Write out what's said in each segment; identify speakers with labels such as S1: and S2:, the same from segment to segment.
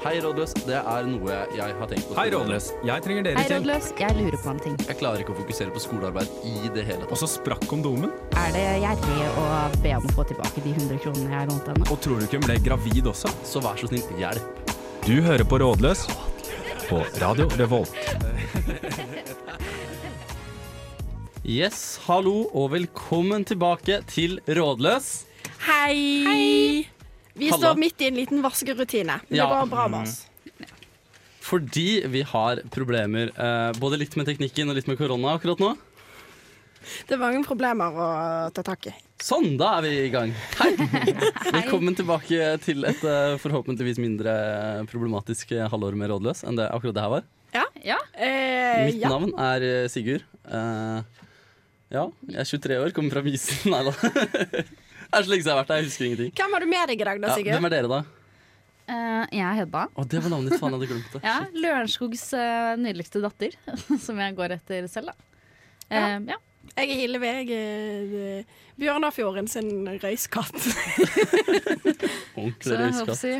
S1: Hei, rådløs. Det er noe jeg har tenkt på.
S2: Hei, Rådløs. Jeg trenger dere
S3: Hei,
S2: til.
S3: rådløs. Jeg lurer på en ting.
S1: Jeg klarer ikke å fokusere på skolearbeid i det hele
S2: Og
S1: tatt.
S2: så sprakk kondomen.
S3: Er det gjerrig å be om å få tilbake de 100 kronene jeg lånte henne?
S2: Og tror du ikke hun ble gravid også?
S1: Så vær så snill, hjelp.
S2: Du hører på Rådløs på Radio Revolt.
S1: Yes, hallo og velkommen tilbake til Rådløs.
S4: Hei! Vi
S1: Halla.
S4: står midt i en liten vaskerutine. men Det
S1: Ja. Mm.
S4: går bra med oss.
S1: Fordi vi har problemer eh, både litt med teknikken og litt med korona akkurat nå.
S4: Det er mange problemer å ta tak i.
S1: Sånn, da er vi i gang. Hei! Velkommen tilbake til et eh, forhåpentligvis mindre problematisk eh, halvår med Rådløs enn det akkurat det her var.
S5: Ja.
S4: Eh,
S1: Mitt
S4: ja.
S1: navn er eh, Sigurd. Eh, ja, jeg er 23 år, kommer fra Mysen. Nei da. Det er så lenge siden jeg har vært her, jeg husker ingenting.
S4: Hvem har du med deg i dag, da,
S1: Ja,
S4: Sigurd?
S1: hvem er dere, da?
S5: Eh, jeg er Hedda.
S1: Å, det var navnet ditt. Faen, jeg hadde glemt det.
S5: Ja, Lørenskogs eh, nydeligste datter, som jeg går etter selv. Da. Eh, ja.
S4: Jeg er Hillevi. Jeg er eh, Bjørnafjorden sin røyskatt.
S5: Så
S1: Ordentlig
S5: jeg håper å
S1: røyskatt.
S5: si,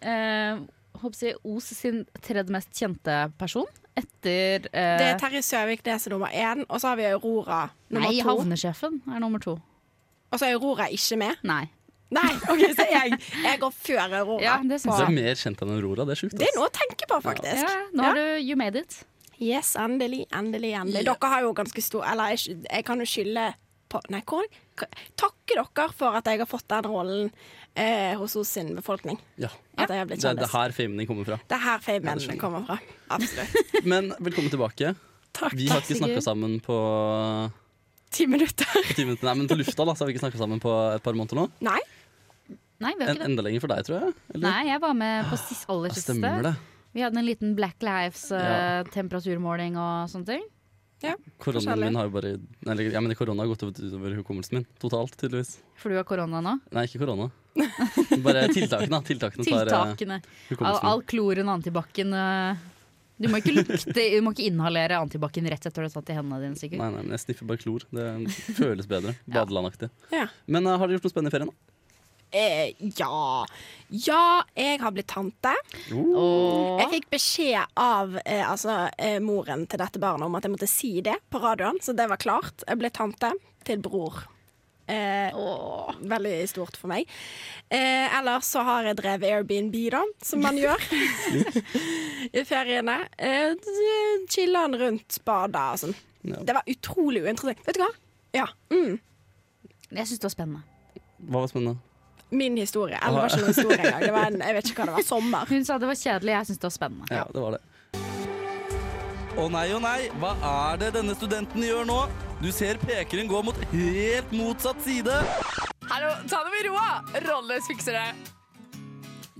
S5: eh, håper å si Os sin tredje mest kjente person etter eh,
S4: Det er Terje Søvik, det er som nummer én. Og så har vi Aurora nummer
S5: Nei,
S4: to.
S5: havnesjefen er nummer to.
S4: Og så er Aurora ikke med.
S5: Nei.
S4: Nei, OK, så jeg, jeg går før Aurora.
S5: Ja,
S1: Du
S5: det syns
S1: er
S5: jeg.
S1: mer kjent enn Aurora. Det er sjukt.
S4: Det er
S1: ass.
S4: noe å tenke på, faktisk.
S5: Ja, nå har du you made it.
S4: Yes, endelig, endelig, endelig. Dere har jo ganske stor Eller jeg, sky- jeg kan jo skylde på Nei, hvor hva- Takke dere for at jeg har fått den rollen eh, hos oss sin befolkning.
S1: Ja.
S4: At jeg har blitt
S1: Det er det
S4: kjendis.
S1: her famen din kommer fra.
S4: Det er her
S1: Ja, det
S4: famen
S1: skjønner jeg.
S4: kommer fra. Absolutt.
S1: Men velkommen tilbake.
S4: Takk.
S1: Vi har ikke snakka
S5: Sigurd.
S1: sammen på,
S4: Ti minutter.
S1: på ti minutter. Nei, men på lufta da, så har vi ikke snakka sammen på et par måneder nå.
S4: Nei.
S5: Nei, vi har
S1: En,
S5: ikke det.
S1: enda lenger for deg, tror jeg. Eller?
S5: Nei, jeg var med på sist, aller
S1: Ja,
S5: siste.
S1: Stemmer det.
S5: Vi hadde en liten Black Lives eh, temperaturmåling og sånne ting.
S4: Ja.
S1: Koronaen
S4: Forskjellig.
S1: min har jo bare Eller ja, men korona har gått ut- utover hukommelsen min totalt, tydeligvis.
S5: For du har korona nå.
S1: Nei, ikke korona. Bare tiltakene. da. Tiltakene tar eh,
S5: Tiltakene. All,
S1: hukommelsen.
S5: all kloren antibac-en eh, Du må ikke lukte Du må ikke inhalere antibac-en rett etter du har tatt i hendene dine, sikkert.
S1: Nei, nei, men jeg sniffer bare klor. Det føles bedre.
S5: Ja.
S1: Badelandaktig.
S4: Ja.
S1: Men eh, har dere gjort noe spennende i ferien, da?
S4: Eh, ja. Ja, jeg har blitt tante.
S5: Åh.
S4: Jeg fikk beskjed av eh, altså, eh, moren til dette barnet om at jeg måtte si det på radioen, så det var klart. Jeg ble tante til bror. Eh,
S5: Åh.
S4: Veldig stort for meg. Eh, ellers så har jeg drevet Airbnb, da, som man gjør i feriene. Eh, d- Chilla han rundt badet og sånn.
S1: Ja.
S4: Det var utrolig uinteressant. Vet du hva? Ja. Mm.
S5: Jeg syns det var spennende.
S1: Hva var spennende?
S4: Min historie. Eller det var ikke noen historie engang. Det var en, jeg vet ikke hva det var. Sommer.
S5: Hun sa det var kjedelig, jeg syns det var spennende.
S1: Ja, det var det. Å nei, å nei, hva er det denne studenten gjør nå? Du ser pekeren gå mot helt motsatt side.
S6: Hallo, ta det med ro! Rolles fikser det.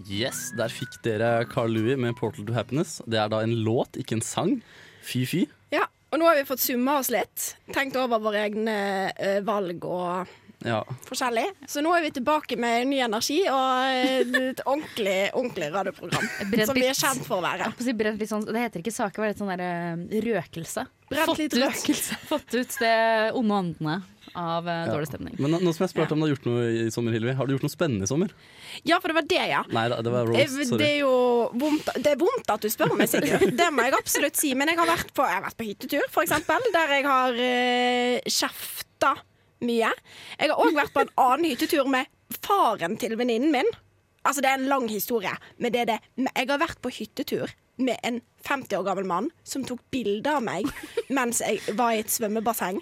S1: Yes, der fikk dere Carl Louis med 'Portal to Happiness'. Det er da en låt, ikke en sang. Fy-fy.
S4: Ja, og nå har vi fått summa oss litt. Tenkt over våre egne eh, valg og
S1: Ja.
S4: forskjellig. Så nå er vi tilbake med ny energi og eh, et ordentlig, ordentlig radioprogram.
S5: Brent
S4: Som vi
S5: litt.
S4: er kjent for å være.
S5: Jeg holdt på å si brent litt sånn, det heter ikke saker, det er litt sånn der, eh, røkelse.
S4: Brent litt
S5: Fått ut-
S4: røkelse.
S5: Fått ut det onde åndene av eh,
S1: Ja.
S5: dårlig stemning.
S1: Men nå nå som jeg spurte om du har gjort noe i sommer, Hilvi, har du gjort noe spennende i sommer?
S4: Ja, for det var det, ja.
S1: Nei, da, det var
S4: Eh,
S1: roast.
S4: Det
S1: Sorry.
S4: er jo vondt, det er vondt at du spør meg, Sigurd. Det må jeg absolutt si. Men jeg har vært på, jeg har vært på hyttetur, for eksempel, der jeg har eh, kjefta mye. Jeg har òg vært på en annen hyttetur med faren til venninnen min. Altså, det er en lang historie, men det er det. Men jeg har vært på hyttetur med en 50 år gammel mann som tok bilde av meg mens jeg var i et svømmebasseng.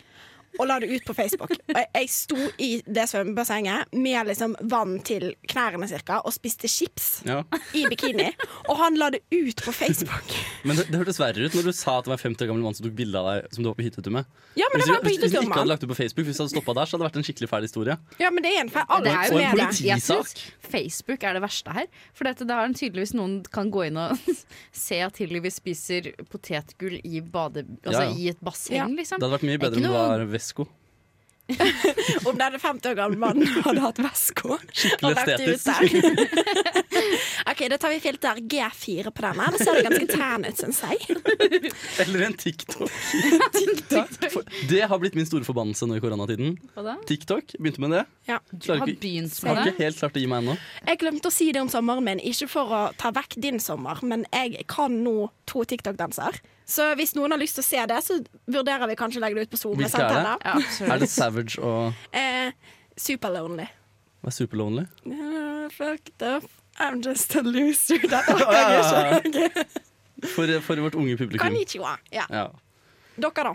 S4: Og la det ut på Facebook. Og jeg, jeg sto i det svømmebassenget med liksom vann til knærne cirka, og spiste chips
S1: Ja.
S4: i bikini. Og han la det ut på Facebook.
S1: Men det, det hørtes verre ut når du sa at det var 50 år gammel mann som tok bilde av deg som du var på hyttetur med.
S4: Ja, men
S1: Hvis
S4: det
S1: du,
S4: var på
S1: hvis, hvis du
S4: hyttetur
S1: ikke hadde
S4: med han.
S1: lagt det på Facebook, hvis du hadde stoppa der, så hadde det vært en skikkelig fæl historie.
S4: Ja, men det er en feil. Alt
S5: Det er jo
S1: Og en
S4: med det.
S1: politi-
S5: Jeg synes
S1: politisak.
S5: Facebook er det verste her. For dette, da har tydeligvis noen kan gå inn og se at Hillevi spiser potetgull i, bade, altså,
S1: Ja, ja.
S5: i et basseng,
S4: Ja.
S5: liksom.
S1: Det hadde vært mye
S5: Det er
S1: bedre om
S5: ikke
S1: det
S5: noe-
S1: var Vesko.
S4: Om denne 50 år gamle mannen hadde hatt vesko og
S1: Skikkelig
S4: lagt det ut
S1: estetisk.
S4: der. OK, da tar vi filter G4 på denne. Det ser jo ganske tan ut, syns jeg.
S1: Eller en TikTok. For- Det har blitt min store forbannelse nå i koronatiden.
S5: Hva da?
S1: TikTok, begynte med det.
S4: Ja.
S5: Du har begynt med
S1: Har
S5: det.
S1: ikke helt klart å gi meg ennå.
S4: Jeg glemte å si det om sommeren min, ikke for å ta vekk din sommer, men jeg kan nå to TikTok-danser. Så hvis noen har lyst til å se det, så vurderer vi kanskje å legge det ut på Zoom. med
S1: Hvilke er det?
S4: samtaler.
S5: Ja,
S1: Er
S5: absolutt.
S1: det Savage og
S4: Eh, super lonely.
S1: Hva er Super Lonely?
S4: Uh, fucked up. I'm just a loser. Dette orker jeg ikke.
S1: For, for vårt unge publikum.
S4: Konnichiwa. Ja.
S1: Ja.
S4: Dere, da?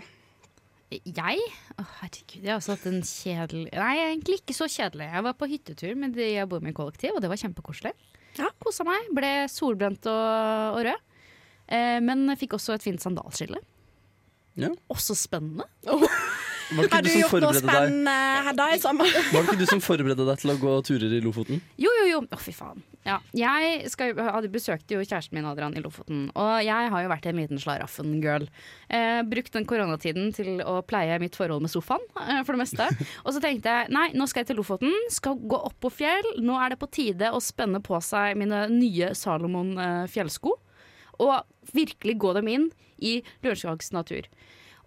S5: Jeg? Å, herregud, jeg har også hatt en kjedelig Nei, egentlig ikke så kjedelig. Jeg var på hyttetur med de jeg bor med i kollektiv, og det var kjempekoselig.
S4: Ja.
S5: Kosa meg. Ble solbrent og, og rød. Eh, men jeg fikk også et fint sandalskille.
S1: Ja.
S5: Også spennende.
S1: Var det ikke
S4: Har
S1: du
S4: du
S1: som
S4: gjort noe
S1: forberedte deg?
S4: spennende Hedda i sommer?
S1: Var det ikke du som forberedte deg til å gå turer i Lofoten?
S5: Jo, jo, jo. Å, fy faen. Ja. Jeg skal, hadde besøkte jo kjæresten min Adrian i Lofoten, og jeg har jo vært en liten slaraffen-girl. Eh, brukt den koronatiden til å pleie mitt forhold med sofaen, eh, for det meste. Og så tenkte jeg nei, nå skal jeg til Lofoten, skal gå opp på fjell. Nå er det på tide å spenne på seg mine nye Salomon eh, fjellsko, og virkelig gå dem inn i Lørenskags natur.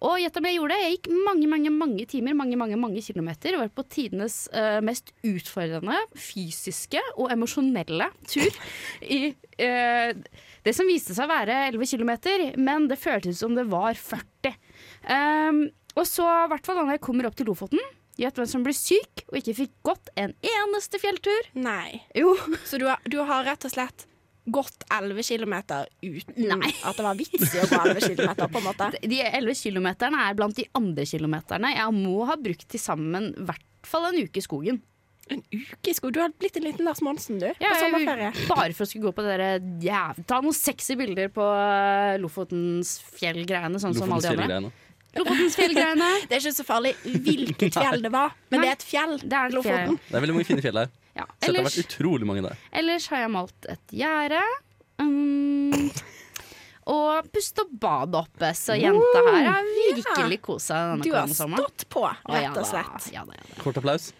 S5: Og gjett om jeg gjorde det. Jeg gikk mange mange, mange timer, mange, mange, mange kilometer. Og var på tidenes eh, mest utfordrende fysiske og emosjonelle tur i eh, det som viste seg å være 11 km, men det føltes som det var 40. Ehm, og så, i hvert fall da jeg kommer opp til Lofoten, gjett hvem som ble syk og ikke fikk gått en eneste fjelltur.
S4: Nei.
S5: Jo,
S4: Så du har, du har rett og slett gått 11 km uten
S5: Nei.
S4: at det var vits i å gå 11 km, på en måte?
S5: De 11 kilometerne er blant de andre kilometerne jeg må ha brukt til sammen i hvert fall en uke i skogen.
S4: En uke i sko? Du har blitt en liten Lars Monsen, du.
S5: Ja,
S4: på
S5: jeg-
S4: sommerferie.
S5: Bare for å skulle gå på dere jæv... Ta noen sexy bilder på eh, Lofotens fjellgreiene, sånn som alle
S1: Lofotens
S5: de andre.
S1: fjellgreiene.
S5: Lofotens fjellgreiene.
S4: Det er ikke så farlig hvilket fjell det var,
S5: Nei.
S4: men det er et fjell.
S5: Det er et
S4: Lofoten.
S1: Det er veldig mange fine fjell her.
S5: Ja.
S1: Så det har
S5: Ellers,
S1: vært utrolig mange der.
S5: ellers har jeg malt et gjerde. Mm. Og pust og bad oppe, så jenta her har virkelig kosa seg denne
S4: Du har
S5: koronasommeren.
S4: stått på,
S5: Å, ja
S4: rett og
S5: da,
S4: slett.
S5: Ja, da, ja, da.
S1: Kort applaus.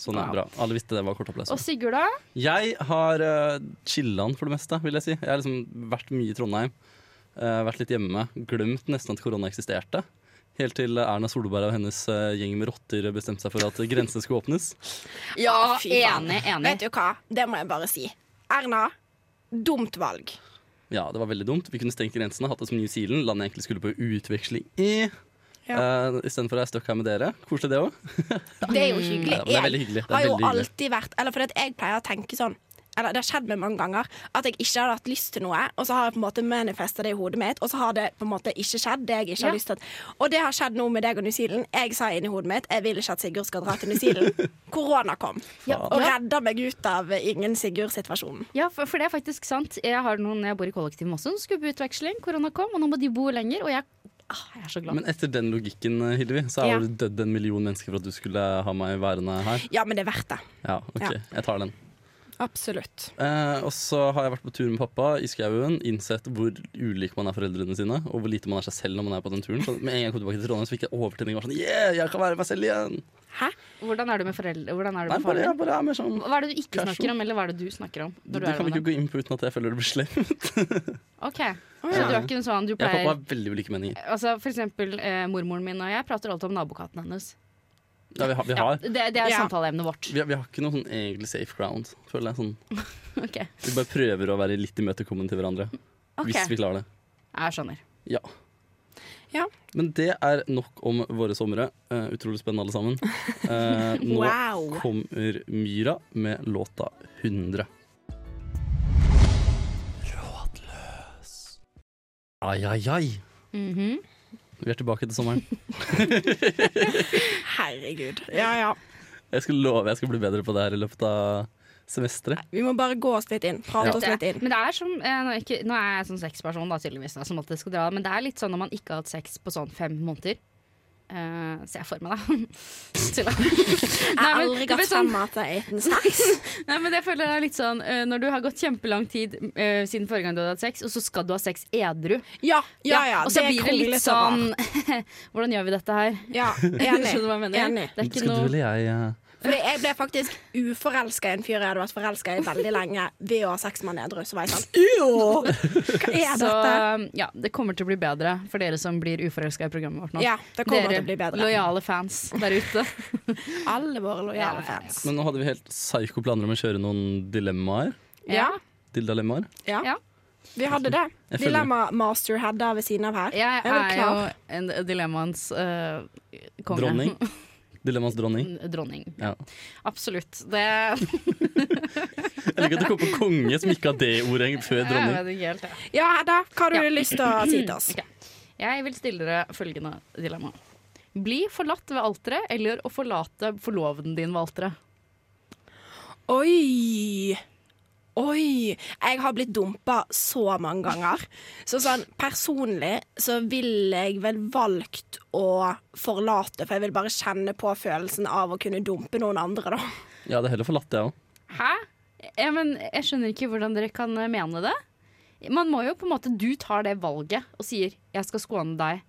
S1: Sånn, ja. Bra. Alle visste det var kort applaus.
S5: Og Sigurd, da?
S1: Jeg har uh, chilla'n for det meste, vil jeg si. Jeg har liksom vært mye i Trondheim. eh, vært litt hjemme. Glemt nesten at korona eksisterte. Helt til Erna Solberg og hennes eh, gjeng med rotter bestemte seg for at grensene skulle åpnes.
S5: Ja,
S4: Ah, fy faen.
S5: enig,
S4: Vet
S5: enig.
S4: du hva, det må jeg bare si. Erna, dumt valg.
S1: Ja, det var veldig dumt. Vi kunne stengt grensene, hatt det som New Zealand, landet jeg egentlig skulle på utveksling i. eh, Ja. Istedenfor å være stuck her med dere. Koselig, det òg.
S4: Det er jo hyggelig.
S1: Ja, men det er veldig hyggelig. Det er
S4: Jeg har jo
S1: veldig hyggelig.
S4: alltid vært Eller fordi at jeg pleier å tenke sånn eller Det har skjedd meg mange ganger at jeg ikke hadde hatt lyst til noe, og så har jeg på en måte manifesta det i hodet mitt, og så har det på en måte ikke skjedd. Det jeg ikke har
S5: Ja.
S4: lyst til at- Og det har skjedd nå med deg og New Zealand. Jeg sa inni hodet mitt jeg vil ikke at Sigurd skal dra til New Zealand. Korona kom og
S5: Ja.
S4: redda meg ut av ingen Sigurd-situasjonen.
S5: Ja, for, for det er faktisk sant. Jeg har noen jeg bor i kollektiv med også, som skulle på utveksling. Korona kom, og nå må de bo lenger. Og jeg, ah, jeg er så glad.
S1: Men etter den logikken, eh, Hillevi, så
S5: Ja.
S1: har du dødd en million mennesker for at du skulle ha meg værende her.
S4: Ja, men det er verdt det.
S1: Ja, ok,
S4: Ja.
S1: jeg tar den.
S4: Absolutt.
S1: Eh, og så har jeg vært på tur med pappa i skauen, innsett hvor ulik man er foreldrene sine, og hvor lite man er seg selv når man er på den turen. Så med en gang jeg kom tilbake til Trondheim, så fikk jeg overtenning og var sånn Yeah, jeg kan være meg selv igjen!
S4: Hæ?
S5: Hvordan er du med foreldre? Hvordan er du
S1: Nei, bare,
S5: med faren
S1: jeg
S5: din?
S1: bare er mer sånn
S5: Hva er det du ikke
S1: Kanskje.
S5: snakker om, eller hva er det du snakker om?
S1: Det
S5: Når du
S1: kan
S5: er
S1: vi
S5: med
S1: ikke
S5: dem?
S1: gå inn på uten at jeg føler det blir slem. Jeg
S5: Ok, Så
S1: ja.
S5: du er ikke en sånn du
S1: og pappa
S5: pleier
S1: har veldig ulike meninger.
S5: Altså For eksempel eh, mormoren min og jeg prater alltid om nabokatten hennes.
S1: Ja, vi har, vi
S5: Ja,
S1: har,
S5: det, det er
S4: Ja.
S5: samtaleemnet vårt.
S1: vi har, vi har ikke noe sånn egentlig safe ground, føler jeg. Sånn.
S5: Ok,
S1: Vi bare prøver å være litt imøtekommende til hverandre.
S5: ok,
S1: Hvis vi klarer det.
S5: Jeg skjønner.
S1: Ja.
S4: Ja.
S1: Men det er nok om våre somre. Eh, utrolig spennende, alle sammen. Eh, nå
S4: Wow.
S1: kommer Myra med låta 100. Rådløs. Ai, ai, ai.
S5: Mhm.
S1: Vi er tilbake til sommeren.
S4: Herregud. Ja, ja.
S1: Jeg skal love jeg skal bli bedre på det her i løpet av semesteret.
S4: Vi må bare gå oss litt inn. Prate
S1: Ja.
S4: oss litt inn.
S5: Men det er som eh, nå, er jeg ikke, nå er jeg sånn sexperson, da, tydeligvis, da, som alltid skal dra, men det er litt sånn når man ikke har hatt sex på sånn fem måneder. Eh, ser jeg for meg, da. Tulla.
S4: Jeg
S5: Nei,
S4: har
S5: men
S4: aldri
S5: det blir
S4: gått
S5: sånn-
S4: frem at jeg er en snacks.
S5: Nei, men jeg føler det er litt sånn eh, Når du har gått kjempelang tid eh, siden forrige gang du hadde hatt sex, og så skal du ha sex edru.
S4: Ja, ja, ja.
S5: og så
S4: er
S5: blir det litt
S4: kronglete
S5: sånn Hvordan gjør vi dette her?
S4: Ja,
S5: Skjønner du
S4: enig.
S5: hva jeg mener?
S4: enig.
S5: Det er ikke
S1: Skal du
S5: noe
S1: eller jeg eh,
S4: Fordi jeg ble faktisk uforelska i en fyr jeg hadde vært forelska i veldig lenge ved å ha sex med nedru. Så var jeg sånn «Ew, Hva er
S5: Så um,
S4: dette?
S5: ja, det kommer til å bli bedre for dere som blir uforelska i programmet vårt nå.
S4: Ja, det kommer
S5: dere
S4: til å bli bedre.
S5: lojale fans der ute.
S4: Alle våre lojale fans.
S1: Men nå hadde vi helt psyko planer om å kjøre noen dilemmaer.
S4: Ja.
S1: Dildalemmaer.
S4: Ja.
S5: Ja.
S4: Vi hadde det.
S1: Jeg følger.
S4: Dilemma Masterhead der ved siden av her.
S5: Jeg
S4: Er du
S5: er jo
S4: klar?
S5: en dilemmaens eh, konge.
S1: Dronning. Dilemmas dronning.
S5: Dronning.
S1: Ja.
S5: Absolutt. Det
S1: Jeg liker at du kom på konge som ikke har det ordet før
S5: Jeg
S1: dronning.
S5: vet ikke helt, jeg.
S4: Ja, Hedda, hva har du lyst til å si til oss?
S5: Ok. Jeg vil stille dere følgende dilemma. Bli forlatt ved alteret eller å forlate forloveden din ved alteret?
S4: Oi! Oi! Jeg har blitt dumpa så mange ganger. Så sånn personlig så vil jeg vel valgt å forlate, for jeg vil bare kjenne på følelsen av å kunne dumpe noen andre, da.
S1: Jeg hadde heller forlatt det òg.
S5: Hæ? Ja, men jeg skjønner ikke hvordan dere kan eh, mene det. Man må jo på en måte Du tar det valget og sier 'jeg skal skåne deg'.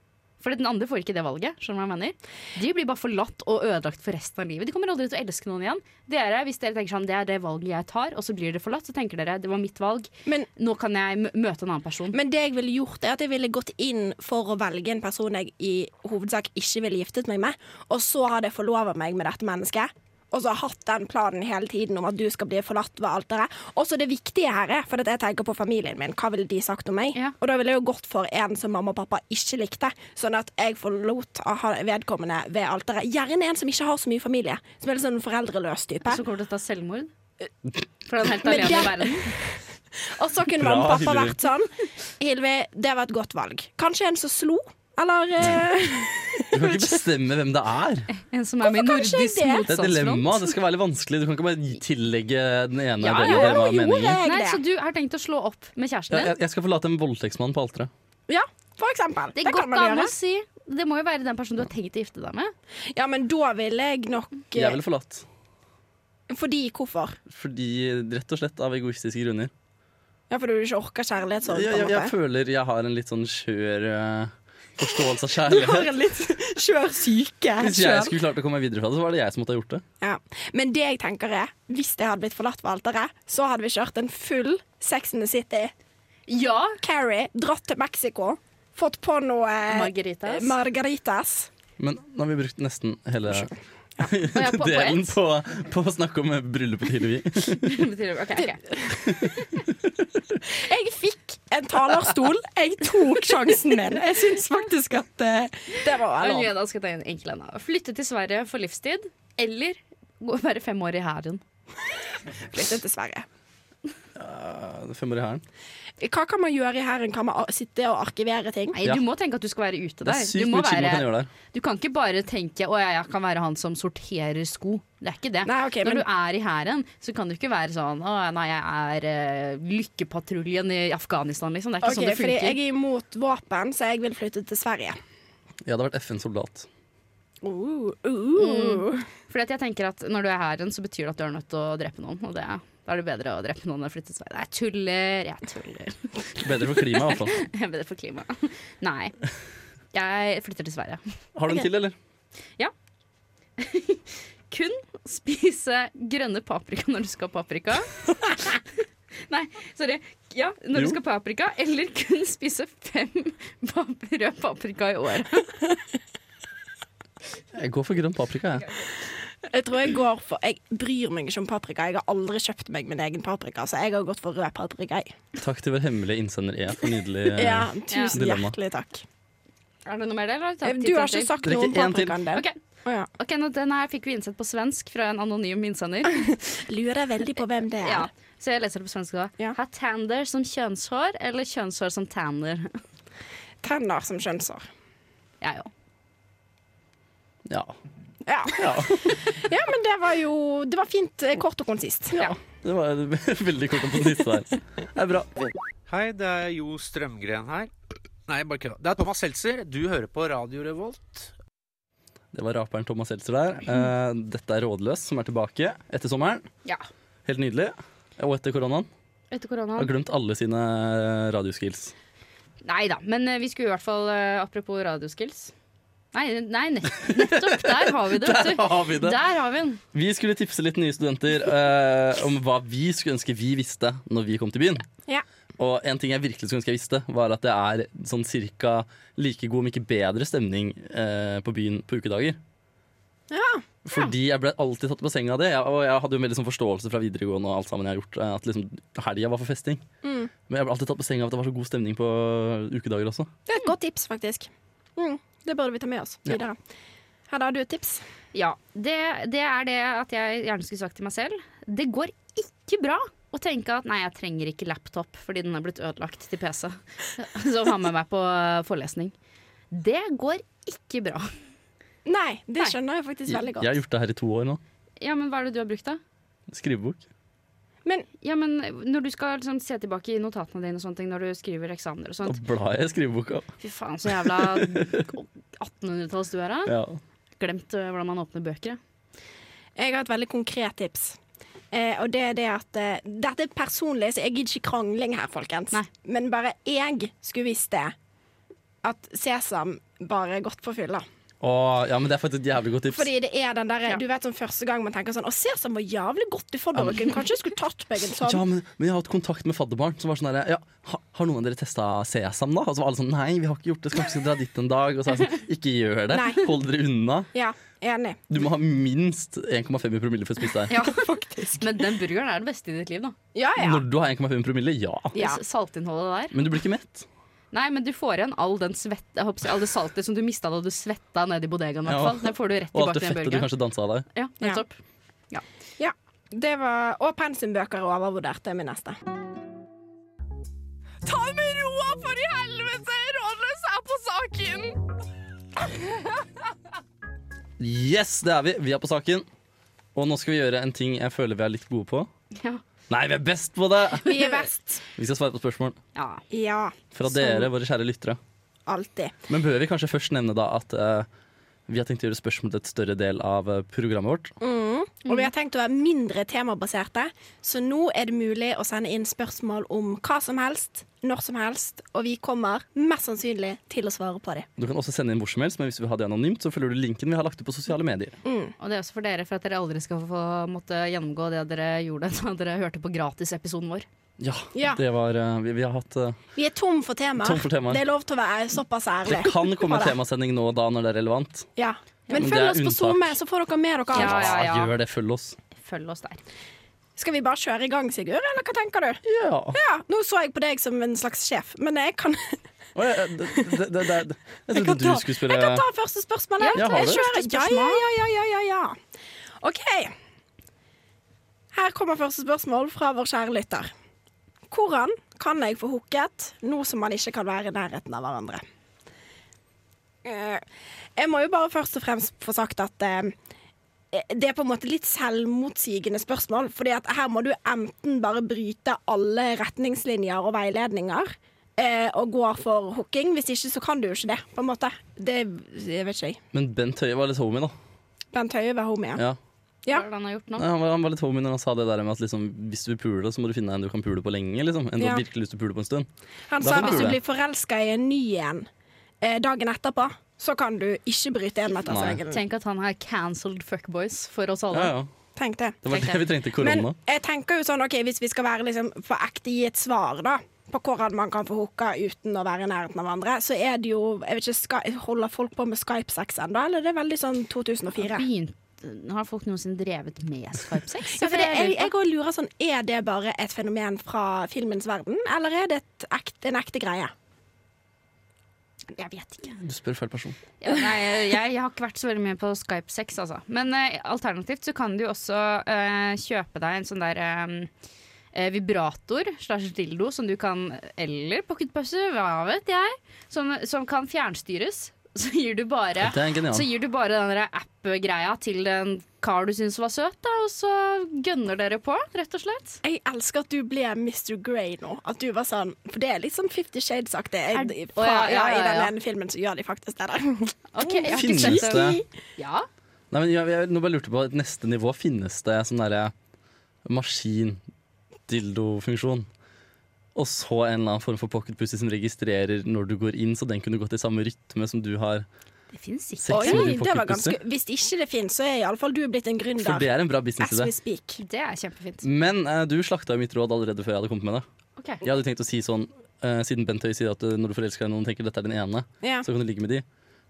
S5: For den andre får ikke det valget. skjønner du hva jeg mener? De blir bare forlatt og ødelagt for resten av livet. De kommer aldri til å elske noen igjen. Dere, hvis dere tenker sånn, Det er det valget jeg tar, og så blir dere forlatt, så tenker dere det var mitt valg.
S4: Men,
S5: Nå kan jeg mø- møte en annen person.
S4: men det jeg ville gjort, er at jeg ville gått inn for å velge en person jeg i hovedsak ikke ville giftet meg med, og så hadde jeg forlova meg med dette mennesket. Og så har hatt den planen hele tiden om at du skal bli forlatt ved alteret. Og så det viktige her er, for at jeg tenker på familien min, hva ville de sagt om meg?
S5: Ja.
S4: Og da ville jeg jo gått for en som mamma og pappa ikke likte, sånn at jeg forlot å ha vedkommende ved alteret. Gjerne en som ikke har så mye familie, som er litt sånn foreldreløs type.
S5: Så kommer du til å ta selvmord. For den Eh, er helt
S4: Men
S5: alene i
S4: det-
S5: verden.
S4: Og så kunne
S1: Bra,
S4: mamma og pappa
S1: Hillevi.
S4: vært sånn. Hilvi, det var et godt valg. Kanskje en som slo? Eller eh,
S1: Du kan ikke bestemme hvem det er.
S5: En som er med i
S4: Hvorfor kanskje
S5: nordisk
S4: det?
S1: Det er et
S5: motstandsfront.
S1: dilemma. Det skal være litt vanskelig. Du kan ikke bare gi- tillegge den ene
S5: Ja,
S1: delen
S5: jo,
S1: det var
S4: jo,
S1: meningen.
S4: det er-
S5: Nei,
S4: det.
S5: så du har tenkt å slå opp med
S1: Ja,
S5: kjæresten
S1: jeg,
S5: din?
S1: jeg skal forlate en voldtektsmann på alteret.
S4: Ja, for eksempel.
S5: Det
S4: Det,
S5: er
S4: kan
S5: godt
S4: man
S5: an å
S4: gjøre.
S5: si. Det må jo være den personen du har tenkt å gifte deg med.
S4: Ja, men da ville jeg nok eh,
S1: Jeg ville forlatt.
S4: Fordi hvorfor?
S1: Fordi, rett og slett av egoistiske grunner.
S4: Ja, fordi du ikke orker
S1: Jeg,
S4: kjærlighetssorg? på
S1: jeg,
S4: en
S1: jeg,
S4: måte.
S1: føler jeg har en litt sånn skjør eh, forståelse av
S4: Du har
S1: kjærlighet.
S4: en litt skjør syke.
S1: Hvis jeg
S4: selv.
S1: skulle klart å komme meg videre fra det, så var det jeg som måtte ha gjort det.
S4: Ja. Men det jeg tenker er, hvis jeg hadde blitt forlatt ved alteret, så hadde vi kjørt en full Sex in the City.
S5: Ja,
S4: Carrie, dratt til Mexico, fått på noe eh,
S5: Margaritas.
S4: margaritas.
S1: Men nå har vi brukt nesten hele
S5: ja, på- på
S1: delen
S5: ett.
S1: på, på å snakke om bryllupet til Hillevi.
S5: Betyr det- ok, ok.
S4: Jeg fikk en talerstol. Jeg tok sjansen min. Jeg syns faktisk at eh, det var
S5: Ok,
S4: lov.
S5: da skal jeg ta en enkel en. da. Flytte til Sverige for livstid, eller gå- være fem år i hæren.
S4: Flytte til Sverige.
S1: Ja, Fem år i hæren.
S4: Hva kan man gjøre i hæren? Kan man ar- sitte og arkivere ting?
S5: Nei,
S1: Ja.
S5: Du må tenke at du skal være ute der.
S1: Det er sykt
S5: du, må
S1: mye chill man kan
S5: være,
S1: gjøre der.
S5: du kan ikke bare tenke å ja, jeg kan være han som sorterer sko. Det er ikke det.
S4: Nei, ok,
S5: Når
S4: men-
S5: du er i hæren, så kan du ikke være sånn å nei, jeg er eh, lykkepatruljen i Afghanistan, liksom. Det er ikke
S4: Ok,
S5: sånn det
S4: fordi
S5: funker.
S4: jeg er imot våpen, så jeg vil flytte til Sverige.
S1: Jeg hadde vært FN-soldat.
S4: Uh, uh.
S5: Fordi at jeg tenker at Når du er i hæren, så betyr det at du er nødt til å drepe noen. Og det, da er det bedre å drepe noen enn å flytte til Sverige. Nei, Jeg tuller, jeg tuller.
S1: Bedre for klimaet, i hvert fall.
S5: Jeg er bedre for klimaet. Nei. Jeg flytter til Sverige.
S1: Har du en til, eller?
S5: Kun spise grønne paprika når du skal ha paprika. Nei, sorry. Ja,
S1: Jo.
S5: når du skal ha paprika. Eller kun spise fem pap rød paprika i året.
S1: Jeg går for grønn paprika, jeg.
S4: Jeg tror jeg går for Jeg bryr meg ikke om paprika. Jeg har aldri kjøpt meg min egen paprika, så jeg har gått for rød paprika. jeg.
S1: Takk til vår hemmelige innsender E for nydelig eh,
S4: Ja, tusen
S1: Dilemma.
S4: hjertelig takk. Eh,
S5: Er det noe mer der? eller har tatt
S4: Du
S5: tid
S4: har
S5: til?
S4: ikke sagt
S1: Drikke
S4: noe om
S1: en til.
S4: paprikaen din.
S5: Ok,
S4: Å ja.
S5: ok, nå, Den her fikk vi innsett på svensk fra en anonym innsender.
S4: Lurer veldig på hvem det er.
S5: Ja, så jeg leser det på svensk da.
S4: Ja.
S5: Ha tander som kjønnshår, eller kjønnshår som tander?
S4: Tenner som kjønnsår.
S5: Jeg òg.
S1: Ja.
S4: Ja.
S1: ja.
S4: ja, men det var jo Det var fint eh, kort og konsist.
S5: Ja.
S1: Det var veldig kort om den siste der. Det er bra.
S7: Hei, det er Jo Strømgren her. Nei, bare kødda. Det er Thomas Seltzer. Du hører på Radio Revolt.
S1: Det var raperen Thomas Seltzer der. Eh, dette er Rådløs, som er tilbake etter sommeren.
S5: Ja.
S1: Helt nydelig. Og etter koronaen.
S5: Etter korona.
S1: Har glemt alle sine eh, radioskills.
S5: Nei da, men eh, vi skulle i hvert fall, eh, apropos radioskills Nei, nei nett- nettopp. Der har vi det. vet du.
S1: Der har vi det.
S5: Der har vi den.
S1: Vi skulle tipse litt nye studenter eh, om hva vi skulle ønske vi visste når vi kom til byen.
S4: Ja.
S1: Og en ting jeg virkelig skulle ønske jeg visste, var at det er sånn cirka like god, om ikke bedre, stemning eh, på byen på ukedager.
S4: Ja.
S1: Fordi jeg ble alltid tatt på senga av det. Jeg, og jeg hadde jo en veldig sånn forståelse fra videregående og alt sammen jeg har gjort, eh, at liksom helga var for festing.
S4: Mm.
S1: Men jeg ble alltid tatt på senga av at det var så god stemning på ukedager også.
S4: Det er et godt tips, faktisk. Mm. Det burde vi ta med oss
S1: Ja.
S4: videre. Hedda, har du et tips?
S5: Ja, det, det er det at jeg gjerne skulle sagt til meg selv. Det går ikke bra å tenke at nei, jeg trenger ikke laptop fordi den er blitt ødelagt til PC. Så ha med meg på eh, forelesning. Det går ikke bra.
S4: Nei, det
S5: Nei.
S4: skjønner jeg faktisk
S1: Jeg,
S4: veldig
S1: jeg har
S4: godt.
S1: gjort det her i to år nå.
S5: Ja, men hva er det du har brukt da?
S1: Skrivebok.
S4: Men
S5: Ja, men når du skal liksom, se tilbake i notatene dine og sånne ting når du skriver eksamener og
S1: Og
S5: sånt.
S1: blar jeg i skriveboka.
S5: Fy faen, så jævla 1800-talls du er da.
S1: Ja.
S5: Glemt eh, hvordan man åpner bøker. ja.
S4: jeg har et veldig konkret tips. Eh, og det er det at eh, Dette er personlig, så jeg gidder ikke krangling her, folkens.
S5: Nei.
S4: Men bare jeg skulle visst det. At sesam bare er godt for fylla.
S1: Og, ja, men det er faktisk et jævlig godt tips.
S4: Fordi det er den derre
S5: Ja.
S4: Du vet sånn første gang man tenker sånn Å, sesam var jævlig godt i fadderuken. Kanskje jeg skulle tatt meg en sånn.
S1: Ja, men, men jeg har hatt kontakt med fadderbarn som var sånn der, ja, ha, Har noen av dere testa sesam, da? Og så var alle sånn Nei, vi har ikke gjort det. Så kanskje vi skal dra dit en dag? Og så er jeg sånn Ikke gjør det.
S4: Nei.
S1: Hold dere unna.
S4: Ja, enig.
S1: Du må ha minst 1,5 i promille for å spise der.
S5: Ja, faktisk. Men den burgeren er det beste i ditt liv, da.
S4: Ja, ja.
S1: Når du har 1,5 i promille, ja.
S4: Ja.
S5: S- Saltinnholdet der.
S1: Men du blir ikke mett.
S5: Nei, men du får igjen all den svett, jeg håper å si, all det saltet som du mista da du svetta nedi bodegaen. i
S1: Ja.
S5: hvert fall. Det får du rett
S1: Og alt det
S5: tilbake til den
S1: fettet du
S5: burgeren.
S1: kanskje dansa av deg.
S5: Ja, nettopp.
S4: ja. Det var, og pensumbøker er overvurdert. Det er min neste.
S6: Ta det med roa, for i helvete! Rådløs er på saken!
S1: Yes, det er vi. Vi er på saken. Og nå skal vi gjøre en ting jeg føler vi er litt gode på.
S5: Ja.
S1: Nei, vi er best på det!
S4: Vi er best.
S1: Vi skal svare på spørsmål
S5: Ja.
S4: Ja,
S1: fra dere, våre kjære lyttere.
S4: alltid.
S1: Men bør vi kanskje først nevne da at eh, vi har tenkt å gjøre spørsmål til et større del av eh, programmet vårt.
S4: Og vi har tenkt å være mindre temabaserte, så nå er det mulig å sende inn spørsmål om hva som helst, når som helst, og vi kommer mest sannsynlig til å svare på dem.
S1: Du kan også sende inn hvor som helst, men hvis du vil ha det anonymt, så følger du linken vi har lagt ut på sosiale medier.
S5: Og det er også for dere, for at dere aldri skal få måtte gjennomgå det dere gjorde da dere hørte på gratisepisoden vår.
S1: Ja,
S4: Ja.
S1: det var eh, vi, vi har hatt eh,
S4: Vi er tom for temaer.
S1: Tom for temaer.
S4: Det er lov til å være såpass ærlig.
S1: Det kan komme
S4: på det.
S1: temasending nå og da når det er relevant.
S4: Ja. Men
S1: Men det
S4: følg
S1: er
S4: oss på
S1: unntak.
S4: SoMe, så får dere med dere alt.
S5: Ja, ja, ja.
S1: Gjør det, følg oss.
S5: Følg oss der.
S4: Skal vi bare kjøre i gang, Sigurd, eller hva tenker du?
S1: Ja.
S4: Ja, nå så jeg på deg som en slags sjef, men jeg kan,
S1: Oi, eh, det, det, det, det. Jeg
S4: jeg kan,
S1: trodde du
S4: ta,
S1: skulle
S4: jeg
S1: spørre
S4: kan ta første spørsmål. jeg.
S1: Ja, ta det.
S4: jeg kjører. Ja, ja, ja, ja, ja, ja, ja. OK. Her kommer første spørsmål fra vår kjære lytter. Hvordan kan jeg få hooket nå som man ikke kan være i nærheten av hverandre? Eh, Jeg må jo bare først og fremst få sagt at eh, det er på en måte litt selvmotsigende spørsmål. Fordi at her må du enten bare bryte alle retningslinjer og veiledninger eh, og gå for hooking. Hvis ikke så kan du jo ikke det, på en måte. Det jeg vet ikke jeg.
S1: Men Bent Høie var litt homie, da.
S4: Bent Høie var homie. Ja.
S1: Ja.
S4: Ja.
S5: Hva er det han har gjort nå?
S1: Nei, han, var, han var litt homie når han sa det der med at liksom, hvis du vil pule, så må du finne en du kan pule på lenge. Liksom. En du
S4: Ja.
S1: har virkelig lyst til å pule på en stund.
S4: Han
S1: Da
S4: sa
S1: kan
S4: hvis
S1: du
S4: du
S1: det.
S4: blir forelska i en ny en eh, dagen etterpå, så kan du ikke bryte enmetersregelen.
S5: Tenk at han er cancelled fuckboys for oss
S1: Ja,
S5: alle.
S1: ja.
S4: Tenk det.
S1: Det var
S5: Tenk
S1: det vi
S5: det.
S1: trengte i korona.
S4: Men jeg tenker jo sånn, ok, hvis vi skal være liksom på ekte gi et svar da, på hvordan man kan få hooka uten å være i nærheten av andre, så er det jo, jeg vet ikke, Sky- holder folk på med Skype-sex enda, eller er det veldig sånn 2004?
S5: Begynte- Har folk noensinne drevet med Skype-sex?
S4: Ja, for det, jeg, jeg går og lurer sånn, er det bare et fenomen fra filmens verden, eller er det et ekte, en ekte greie?
S5: jeg vet ikke.
S1: Du spør feil person.
S5: Ja, nei, jeg, jeg har ikke vært så veldig mye på Skype-sex, altså. Men eh, alternativt så kan du jo også eh, kjøpe deg en sånn der eh, eh, vibrator slash dildo som du kan Eller pocketpause, hva vet jeg. Som, som kan fjernstyres. Så gir du bare
S1: Det er
S5: så
S1: genialt.
S5: gir du bare den der app-greia til en kar du syns var søt, da, og så gønner dere på, rett og slett.
S4: Jeg elsker at du ble Mr. Grey nå, at du var sånn, for det er litt sånn Fifty Shades-aktig,
S5: Er
S4: Jeg-
S5: det-
S4: fra,
S5: Å, ja,
S4: ja,
S5: ja,
S4: i
S5: ja,
S4: den
S5: ja.
S4: ene filmen så gjør de faktisk det der.
S5: Ok, jeg har ikke
S1: Finnes
S5: sett det.
S1: det
S5: Ja.
S1: Nei, men jeg, jeg, nå bare lurte jeg på et neste nivå. Finnes det sånn derre maskin-dildofunksjon? Og så en eller annen form for pocketpussy som registrerer når du går inn, så den kunne gått i samme rytme som du har
S5: Det fins sikkert.
S1: Seks
S4: Oi,
S1: minutter
S4: det var
S1: pocketpussy.
S4: ganske, hvis ikke det finnes, så er iallfall du blitt en
S1: For det
S4: gründer.
S1: er en bra
S4: As we
S1: businessidé.
S4: speak.
S5: Det er kjempefint.
S1: Men eh, du slakta jo mitt råd allerede før jeg hadde kommet med det.
S5: Ok.
S1: Jeg hadde tenkt å si sånn, eh, siden Bent Høie sier at eh, når du forelsker deg i noen, tenker dette er den ene,
S4: Ja.
S1: så kan du ligge med de.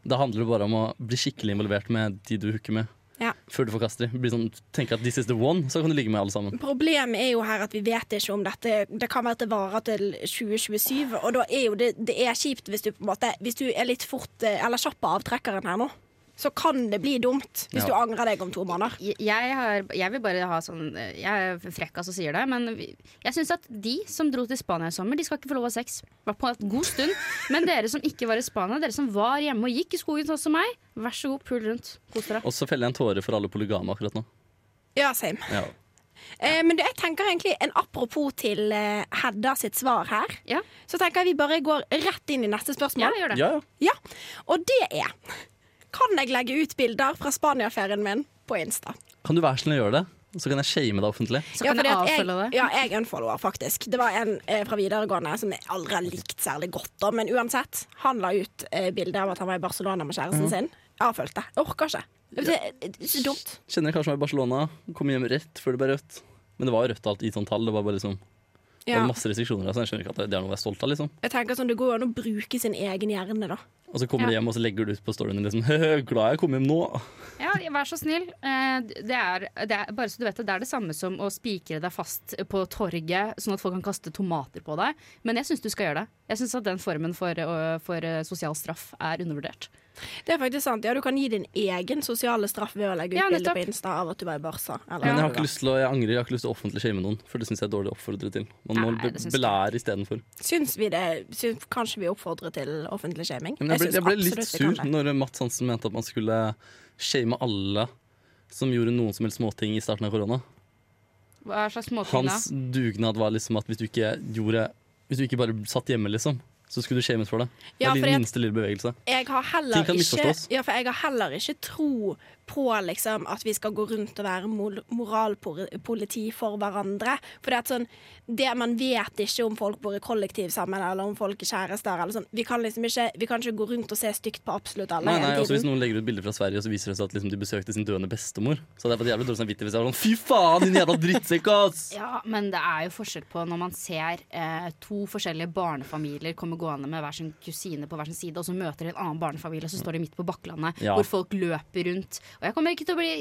S1: Da handler det bare om å bli skikkelig involvert med de du hooker med.
S4: Ja.
S1: Før du forkaster de. Bli sånn, tenk at this is the one, så kan du ligge med alle sammen.
S4: Problemet er jo her at vi vet ikke om dette Det kan være at det varer til 2027, og da er jo det, det er kjipt hvis du på en måte Hvis du er litt fort eh, eller kjapp på avtrekkeren her nå, så kan det bli dumt hvis
S1: Ja.
S4: du angrer deg om to måneder.
S5: Jeg, har, jeg vil bare ha sånn eh, Jeg er frekk som sier det, men vi- jeg syns at de som dro til Spania i sommer, de skal ikke få lov å ha sex. Var på en god stund. Men dere som ikke var i Spania, dere som var hjemme og gikk i skogen sånn som meg, vær så god, pul rundt. Kos dere.
S1: Og så feller jeg en tåre for alle polygame akkurat nå.
S4: Ja, same.
S1: Ja.
S4: Eh, men det, jeg tenker egentlig en apropos til eh, Hedda sitt svar her.
S5: Ja,
S4: Så tenker jeg vi bare går rett inn i neste
S5: ja
S4: spørsmål.
S5: gjør det.
S1: Ja, ja.
S4: Ja, og det er Kan jeg legge ut bilder fra Spania-ferien min på Insta?
S1: Kan du være så snill å gjøre det? Så kan jeg shame deg offentlig.
S5: Så kan
S4: fordi
S5: jeg
S4: at
S5: avfølge det.
S4: Ja, jeg unfollower, faktisk. Det var en eh, fra videregående som jeg aldri har likt særlig godt, da, men uansett. Han la ut eh, bilde av at han var i Barcelona med kjæresten
S5: Mhm.
S4: sin. Jeg har fulgt det. Jeg orker ikke. Det er så dumt.
S1: Kjenner en kar som var i Barcelona, kom hjem rett før det ble rødt. Men det var jo rødt alt i sånn tall. Det var bare liksom det
S4: Ja.
S1: var masse restriksjoner. Altså. Jeg skjønner ikke at det er noe å være stolt av, liksom.
S4: Jeg tenker sånn, Det går jo an å bruke sin egen hjerne, da.
S1: Og så kommer du
S5: Ja.
S1: hjem og så legger du ut på storyen din liksom «Høhø, Glad jeg kom hjem nå.
S5: Ja, vær så snill. Eh, Det er, det er, bare så du vet det, det er det samme som å spikre deg fast på torget, sånn at folk kan kaste tomater på deg. Men jeg syns du skal gjøre det. Jeg syns at den formen for, eh, for eh, sosial straff er undervurdert.
S4: Det er faktisk sant. Ja, Du kan gi din egen sosiale straff ved å legge ut
S5: Ja,
S4: bilder
S5: nettopp.
S4: på Insta av at du var i Barca. eller
S1: Men jeg har
S4: hva det
S1: ikke lyst til å, jeg angrer, jeg har ikke lyst til å offentlig shame noen, for det syns jeg er dårlig oppfordret til. Man må
S5: Nei,
S1: be
S5: det syns jeg.
S1: belære istedenfor.
S4: var. Syns vi det syns, Kanskje vi oppfordrer til offentlig shaming?
S1: Men jeg ble,
S4: syns
S1: jeg ble litt
S4: absolutt vi kan
S1: sur når Mats Hansen mente at man skulle shame alle som gjorde noen som helst småting i starten av korona.
S5: Hva slags småting da?
S1: Hans dugnad var liksom at hvis du ikke gjorde Hvis du ikke bare satt hjemme, liksom, så skulle du shames for det. Det
S4: Ja,
S1: er
S4: fordi
S1: din
S4: at-
S1: minste lille bevegelse.
S4: jeg har
S1: Ting
S4: heller
S1: kan
S4: ikke,
S1: misforstås.
S4: ja, for jeg har heller ikke tro på liksom, at vi skal gå rundt og være mol- moralpoliti for hverandre. For det, er et sånn, det man vet ikke om folk bor i kollektiv sammen, eller om folk er kjærester. Eller sånn. vi, kan liksom ikke, vi kan ikke gå rundt og se stygt på absolutt alle
S1: Nei, nei,
S4: hele
S1: altså Hvis
S4: tiden.
S1: noen legger ut bilder fra Sverige og så viser det seg at liksom, de besøkte sin døende bestemor, så hadde jeg fått jævlig dårlig samvittighet hvis jeg var sånn Fy faen, din jævla drittsekk, ass!
S5: Ja, men det er jo forskjell på når man ser eh, to forskjellige barnefamilier komme gående med hver sin kusine på hver sin side, og så møter de en annen barnefamilie, og så står de midt på Bakklandet,
S1: Ja.
S5: hvor folk løper rundt. Og jeg kommer ikke til å bli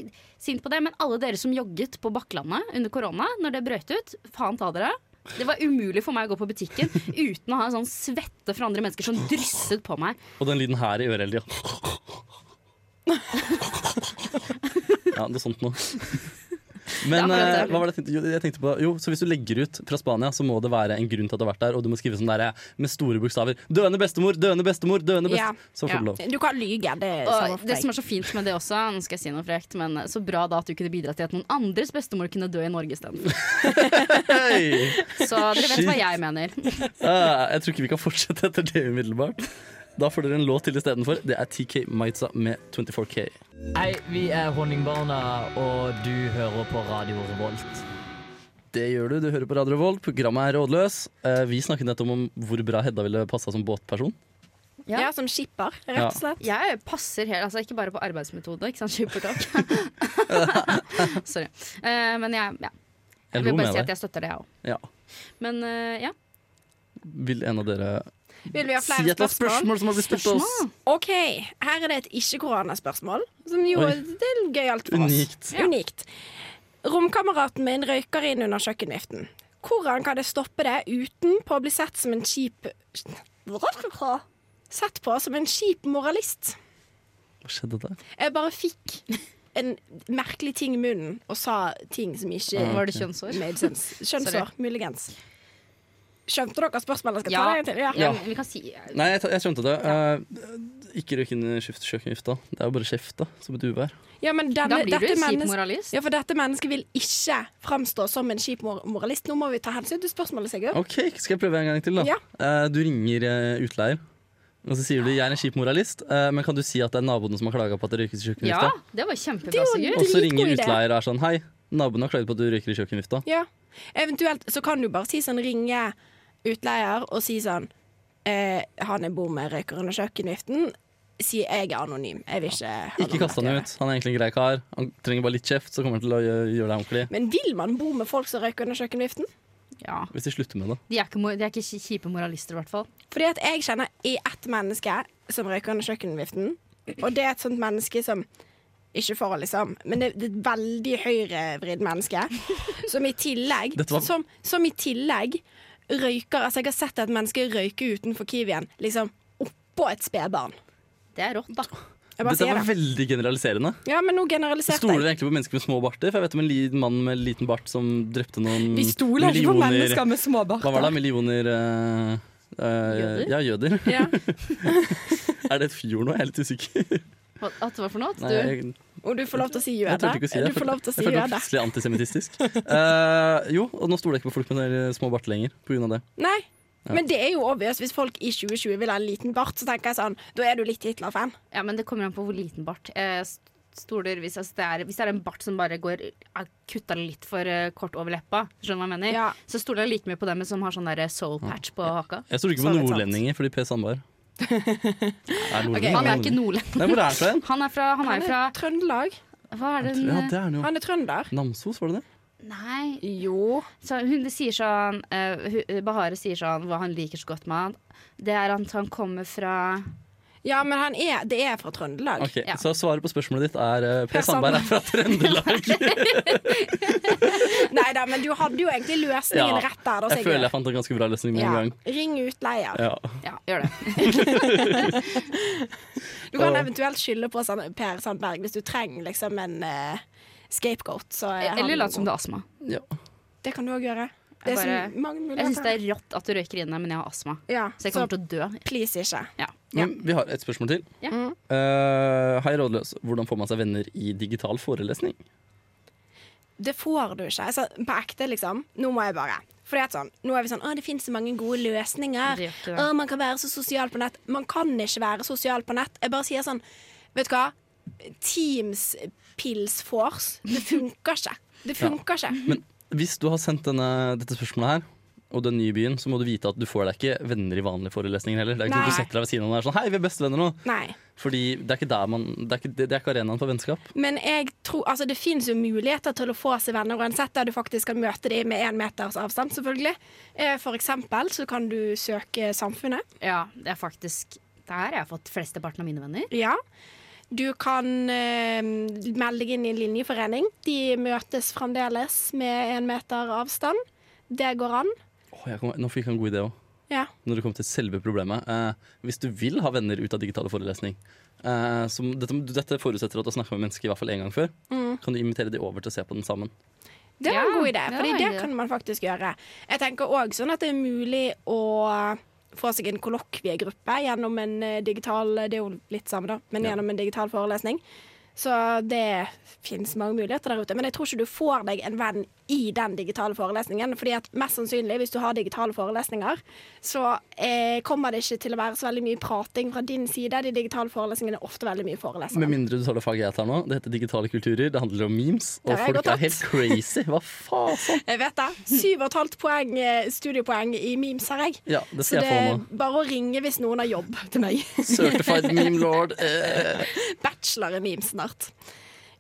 S5: sint på det, men alle dere som jogget på Bakklandet under korona, når det brøt ut, faen ta dere. Det var umulig for meg å gå på butikken uten å ha en sånn svette fra andre mennesker som drysset på meg.
S1: Og den lyden her i ørehelga. Ja, noe sånt noe. Men
S5: Det er akkurat
S1: eh,
S5: det.
S1: hva var det jeg tenkte? Jo, jeg tenkte på? Jo, så hvis du legger ut fra Spania, så må det være en grunn til at du har vært der, og du må skrive sånn der eh, med store bokstaver 'Døende bestemor, døende bestemor, døende
S4: Ja.
S1: best... Så får du
S5: Ja.
S1: lov.
S4: Du kan lyge, det er samme
S5: Og
S4: for
S5: det som
S4: meg.
S5: er så fint med det også, nå skal jeg si noe frekt, men så bra da at du kunne bidra til at noen andres bestemor kunne dø i Norge istedenfor.
S1: Hei!
S5: Så dere vet
S1: Shit.
S5: hva jeg mener.
S1: Eh, jeg tror ikke vi kan fortsette etter det umiddelbart. Da får dere en låt til istedenfor. Det er TK Maitza med 24K.
S8: Hei, vi er Honningbarna, og du hører på Radio Revolt.
S1: Det gjør du. Du hører på Radio Revolt. Programmet er rådløs. Eh, vi snakket nettopp om hvor bra Hedda ville passa som båtperson.
S5: Ja.
S4: Ja, som skipper, rett
S1: Ja.
S4: og slett.
S5: Jeg passer helt, altså ikke bare på arbeidsmetode, ikke sant, skippertak. Sorry. Eh, men jeg, ja. jeg
S1: Jeg
S5: vil
S1: lo
S5: bare si
S1: med
S5: at
S1: deg.
S5: jeg støtter det, jeg òg.
S1: Ja.
S5: Men eh, ja.
S1: Vil en av dere
S4: Vil vi ha
S1: si
S4: flere
S1: et av
S4: spørsmål?
S1: spørsmål som har blitt stilt til oss?
S5: Spørsmål?
S4: OK, her er det et ikke-koronaspørsmål. Som jo
S1: Oi.
S4: det er gøyalt for
S1: Unikt.
S4: oss. Unikt. Romkameraten min røyker inn under kjøkkenviften. Hvordan kan jeg stoppe det uten på å bli sett som en kjip Sett på som en kjip moralist?
S1: Hva skjedde der?
S4: Jeg bare fikk en merkelig ting i munnen og sa ting som ikke
S5: Var det
S1: Mm.
S5: kjønnshår?
S4: made sense. Kjønnshår, muligens. Skjønte dere spørsmålet? Skal jeg
S5: Ja.
S4: ta det en til? Ja.
S5: Ja, men vi kan si eh,
S1: Nei, jeg, ta- jeg skjønte det. Eh, ikke røyk inn i skift- kjøkkenvifta. Det er jo bare kjefta som et uvær.
S4: Ja, men denne,
S5: Da blir du
S4: dette
S5: en kjip
S4: mennesket-
S5: moralist.
S4: Ja, for dette mennesket vil ikke framstå som en kjip mor moralist. Nå må vi ta hensyn til spørsmålet, Sigurd.
S1: OK, skal jeg prøve en gang til, da?
S4: Ja.
S1: Eh, du ringer eh, utleier, og så sier du 'jeg er en kjip moralist', eh, men kan du si at det er naboene som har klaga på at det røykes i
S5: Ja,
S1: kjøkkenvifta?
S5: det var
S4: Det
S5: kjempebra,
S4: er jo-
S5: Sigurd.
S1: Og så
S4: dritgod
S1: ringer
S4: idé.
S1: utleier og er sånn 'hei, naboen har klaget på at du røyker i kjøkkenvifta'.
S4: Ja. Eventuelt så kan du bare si sånn, ringe utleier og si sånn eh, Han jeg bor med, røyker under kjøkkenviften. si jeg er anonym. Jeg vil ikke høre
S1: Ikke
S4: noe om
S1: kast han
S4: dette.
S1: ut. Han er egentlig en grei kar. Han trenger bare litt kjeft, så kommer han til å gjø- gjøre det ordentlig.
S4: Men vil man bo med folk som røyker under kjøkkenviften?
S5: Ja.
S1: Hvis de slutter med det.
S5: De er ikke, mo- de er ikke ki- kjipe moralister, i hvert fall.
S4: Fordi at jeg kjenner i ett menneske som røyker under kjøkkenviften. Og det er et sånt menneske som ikke får liksom Men det det er et veldig høyrevridd menneske. Som i tillegg
S1: Dette var-
S4: som, som i tillegg røyker Altså, jeg har sett et menneske røyke utenfor Kiwien, liksom oppå et spedbarn.
S5: Det er rått, da.
S4: Jeg bare
S1: Dette
S4: sier
S1: var
S4: det.
S1: veldig generaliserende.
S4: Ja, men nå generaliserte
S1: Stoler
S4: jeg.
S1: dere egentlig på mennesker med små barter? For jeg vet om en li- mann med liten bart som drepte noen
S3: Vi stoler ikke på
S1: millioner-
S3: mennesker med små
S1: Hva var det?
S3: barter.
S1: Millioner eh, eh,
S5: Jøder?
S1: Ja, jøder.
S5: Ja.
S1: Er det et fjord nå? Jeg er litt usikker.
S5: Hva- At det var for noe?
S1: Nei,
S5: Du,
S1: jeg,
S4: Og du får lov til å si
S1: jeg
S4: jøde.
S1: turte ikke å si det.
S4: du får lov til å si
S1: jeg følte meg
S4: jøde.
S1: plutselig antisemittistisk. Eh, jo, og nå stoler jeg ikke på folk med de små barter lenger pga. det.
S4: Nei.
S1: Ja.
S4: Men det er jo obvious. Hvis folk i 2020 vil ha en liten bart, så tenker jeg sånn, da er du litt Hitler-fan.
S5: ja, men det kommer an på hvor liten bart. Eh, s- Stoler, hvis, altså, det er, hvis det er en bart som bare går er kutta litt for eh, kort over leppa, skjønner du hva jeg mener?
S4: Ja.
S5: Så stoler jeg like mye på dem som har sånn der soul patch på haka.
S1: Jeg stoler ikke på
S4: Så er det sant.
S1: nordlendinger fordi Per Sandberg er nordlending.
S5: Han er ikke nordlending.
S1: Nei, hvor er han fra igjen?
S5: Han er fra, han er
S4: Han
S5: jo fra
S4: er Trøndelag.
S5: Hva er det den
S1: Ja, det er han jo.
S4: Han er trønder.
S1: Namsos, var det det?
S5: Nei,
S4: Jo.
S5: Så hun sier sånn eh, hun- Bahare sier sånn hva han liker så godt med han. Det er at han kommer fra
S4: Ja, men han er, det er fra Trøndelag.
S1: Ok,
S5: Ja.
S1: Så svaret på spørsmålet ditt er eh,
S4: Per
S1: Per Sandberg er fra Trøndelag.
S4: Nei da, men du hadde jo egentlig
S1: Ja,
S4: løsningen rett der. Da,
S1: Jeg
S4: Sigurd.
S1: føler jeg fant en ganske bra løsning med en gang.
S4: ja. Ring utleier.
S1: Ja.
S5: Ja, gjør det.
S4: Du kan
S1: Og-
S4: eventuelt skylde på Sand- Per Sandberg hvis du trenger liksom en eh, scapegoat. Så er han
S5: Eller lat som det
S4: god.
S5: er astma.
S1: Ja.
S4: Det kan du òg gjøre. Det er
S5: bare-
S4: så mange
S5: Jeg syns det
S4: muligheter.
S5: er rått at du røyker inne, men jeg har astma.
S4: Ja,
S5: Så jeg
S4: så
S5: kommer til å dø.
S4: please ikke.
S5: Ja.
S1: Men vi har et spørsmål til.
S5: Ja.
S1: Eh, hei, Rådløs. Hvordan får man seg venner i digital forelesning?
S4: Det får du ikke. Altså, på ekte, liksom. Nå må jeg bare. For det er sånn, nå er vi sånn Å, det finnes så mange gode løsninger.
S5: Det gjør ikke det.
S4: Å, man kan være så sosial på nett. Man kan ikke være sosial på nett. Jeg bare sier sånn Vet du hva? Teams Pils Force. Det funker ikke. Det funker ikke.
S1: Men hvis du har sendt denne, dette spørsmålet her, og den nye byen, så må du vite at du får deg ikke venner i vanlige forelesninger heller. Det er ikke sånn at du
S4: Nei.
S1: setter deg ved siden av noen og er sånn Hei, vi er bestevenner nå.
S4: Nei.
S1: Fordi det er ikke der man Det er ikke, det, det er ikke arenaen for vennskap.
S4: Men jeg tror, altså det finnes jo muligheter til å få seg venner uansett der du faktisk kan møte dem med én meters avstand, selvfølgelig. Eh, For eksempel så kan du søke Samfunnet.
S5: Ja, det er faktisk Der har jeg fått flesteparten av mine venner.
S4: Ja. Du kan eh, melde deg inn i en linjeforening. De møtes fremdeles med én meter avstand. Det går an.
S1: Åh, jeg kom, nå fikk jeg en god idé òg.
S4: Ja.
S1: Når det kommer til selve problemet. Eh, hvis du vil ha venner ut av digitale forelesning eh, som, dette, dette forutsetter at du har snakka med mennesker i hvert fall én gang før.
S4: Mm.
S1: Kan du invitere de over til å se på den sammen?
S4: Det var
S5: Ja,
S4: en god idé,
S5: det
S4: for
S5: var en
S4: det
S5: idé.
S4: kan man faktisk gjøre. Jeg tenker òg sånn at det er mulig å få seg en kollokviegruppe gjennom en eh, digital Det er jo litt samme, da, men gjennom en digital forelesning. Så det finnes mange muligheter der ute. Men jeg tror ikke du får deg en venn i den digitale forelesningen. fordi at mest sannsynlig, hvis du har digitale forelesninger, så eh, kommer det ikke til å være så veldig mye prating fra din side. De digitale forelesningene er ofte veldig mye
S1: Med
S4: forelesere.
S1: mindre du tar det faget jeg tar nå. Det heter digitale kulturer. Det handler om memes. Og
S4: Der er jeg
S1: folk
S4: godt
S1: er helt crazy. Hva faen?
S4: Jeg vet det. Syv og et halvt poeng, eh, studiepoeng i memes har jeg.
S1: Ja, det
S4: Så
S1: skal jeg
S4: det
S1: få
S4: er
S1: nå.
S4: bare å ringe hvis noen har jobb til meg.
S1: Certified meme lord. Eh.
S4: Bachelor i memes snart.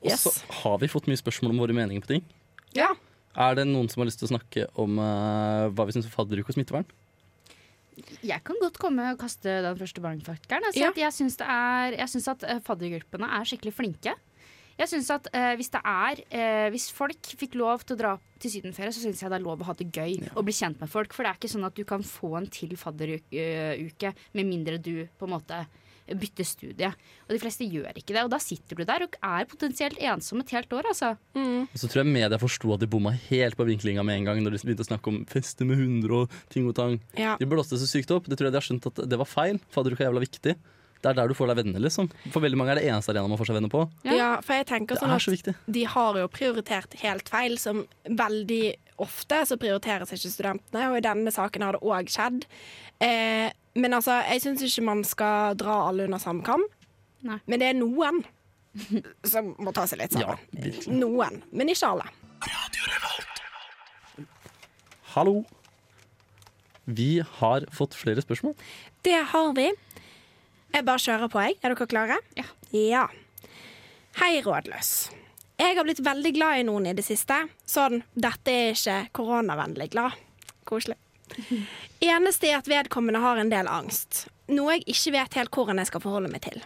S1: Og
S4: Yes.
S1: så har vi fått mye spørsmål om våre meninger på ting.
S4: Ja.
S1: Er det noen som har lyst til å snakke om eh, hva vi syns om fadderuk og smittevern?
S5: Jeg kan godt komme og kaste den første brannfakkelen. Altså
S4: Ja.
S5: at Jeg syns det er- jeg syns at eh, faddergruppene er skikkelig flinke. Jeg synes at eh, Hvis det er eh, Hvis folk fikk lov til å dra til sydenferie, så syns jeg det er lov å ha det gøy og bli kjent med folk. For det er ikke sånn at du kan få en til fadderuke eh, med mindre du på en måte bytter studie. Og de fleste gjør ikke det. Og da sitter du der og er potensielt ensom et helt år, altså.
S1: Og så tror jeg media forsto at de bomma helt på vinklinga med en gang når de begynte å snakke om feste med hunder og ting og tang.
S4: Ja.
S1: De blåste så sykt opp. Det tror jeg de har skjønt at det var feil. Fadderuk er jævla viktig. Det er der du får deg venner, liksom. For veldig mange er det eneste arenaen man får seg venner på.
S5: Ja.
S4: ja, for jeg tenker
S1: Det
S4: sånn
S1: er så
S4: at
S1: viktig.
S4: de har jo prioritert helt feil, som veldig ofte så prioriteres ikke studentene, og i denne saken har det òg skjedd. Eh, men altså, jeg syns ikke man skal dra alle under samme kam,
S5: Nei.
S4: men det er noen som må ta seg litt
S1: Ja,
S4: sammen. noen, men ikke alle.
S1: Hallo. Vi har fått flere spørsmål.
S4: Det har vi. Jeg bare kjører på, jeg. Er dere klare?
S5: Ja.
S4: ja. Hei, rådløs. Jeg har blitt veldig glad i noen i det siste. Sånn 'dette er ikke koronavennlig glad'. Koselig. Eneste er at vedkommende har en del angst. Noe jeg ikke vet helt hvordan jeg skal forholde meg til.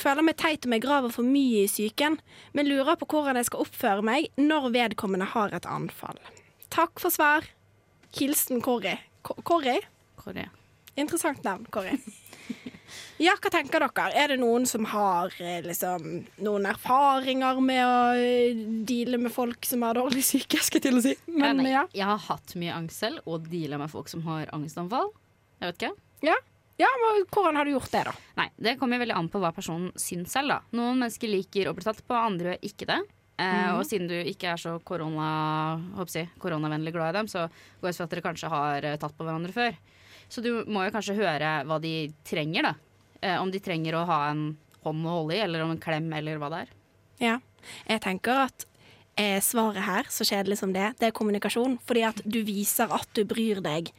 S4: Føler meg teit om jeg graver for mye i psyken, men lurer på hvordan jeg skal oppføre meg når vedkommende har et anfall. Takk for svar. Hilsen Kåre. Ko- Kåre?
S5: Kåre.
S4: Interessant navn, Kåre. Ja, hva tenker dere? Er det noen som har eh, liksom, noen erfaringer med å eh, deale med folk som har dårlig psyke, skal jeg til å si? Men
S5: nei,
S4: ja.
S5: Jeg har hatt mye angst selv, og deala med folk som har angstanfall. Jeg vet ikke.
S4: Ja. ja, men hvordan har du gjort det, da?
S5: Nei, Det kommer veldig an på hva personen syns selv. da Noen mennesker liker å bli tatt på, andre gjør ikke det. Eh, Og siden du ikke er så korona, håper jeg, koronavennlig glad i dem, så går jeg ut fra at dere kanskje har eh, tatt på hverandre før. Så du må jo kanskje høre hva de trenger, da. Eh, om de trenger å ha en hånd å holde i, eller om en klem, eller hva det er.
S4: Ja. Jeg tenker at eh, svaret her, så kjedelig som det er, det er kommunikasjon. Fordi at du viser at du bryr deg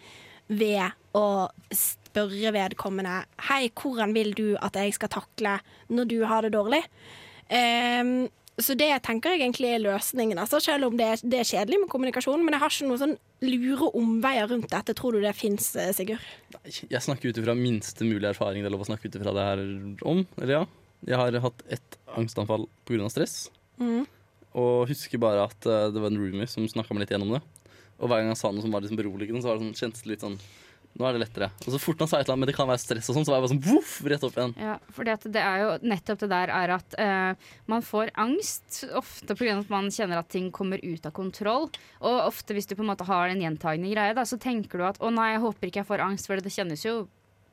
S4: ved å spørre vedkommende Hei, hvordan vil du at jeg skal takle når du har det dårlig? Ehm, så det tenker jeg egentlig er løsningen, altså, selv om det er, det er kjedelig med kommunikasjon. Men jeg har ikke noen sånn lure omveier rundt dette. Tror du det fins, Sigurd?
S1: Jeg snakker ut ifra minste mulig erfaring det er lov å snakke ut ifra det her om. Eller ja. Jeg har hatt ett angstanfall pga. stress.
S5: Mm.
S1: Og husker bare at eh, det var en roomie som snakka meg litt gjennom det. Og hver gang jeg sa noe som var liksom beroligende, så var det sånn, kjentes det litt sånn Nå er det lettere. Og så fort han sa et eller annet, men det kan være stress og sånn, så var jeg bare sånn voff, rett opp igjen.
S5: Ja, for det, er jo nettopp det der er at eh, man får angst ofte pga. at man kjenner at ting kommer ut av kontroll. Og ofte hvis du på en måte har en gjentagende greie, da, så tenker du at å nei, jeg håper ikke jeg får angst, for det kjennes jo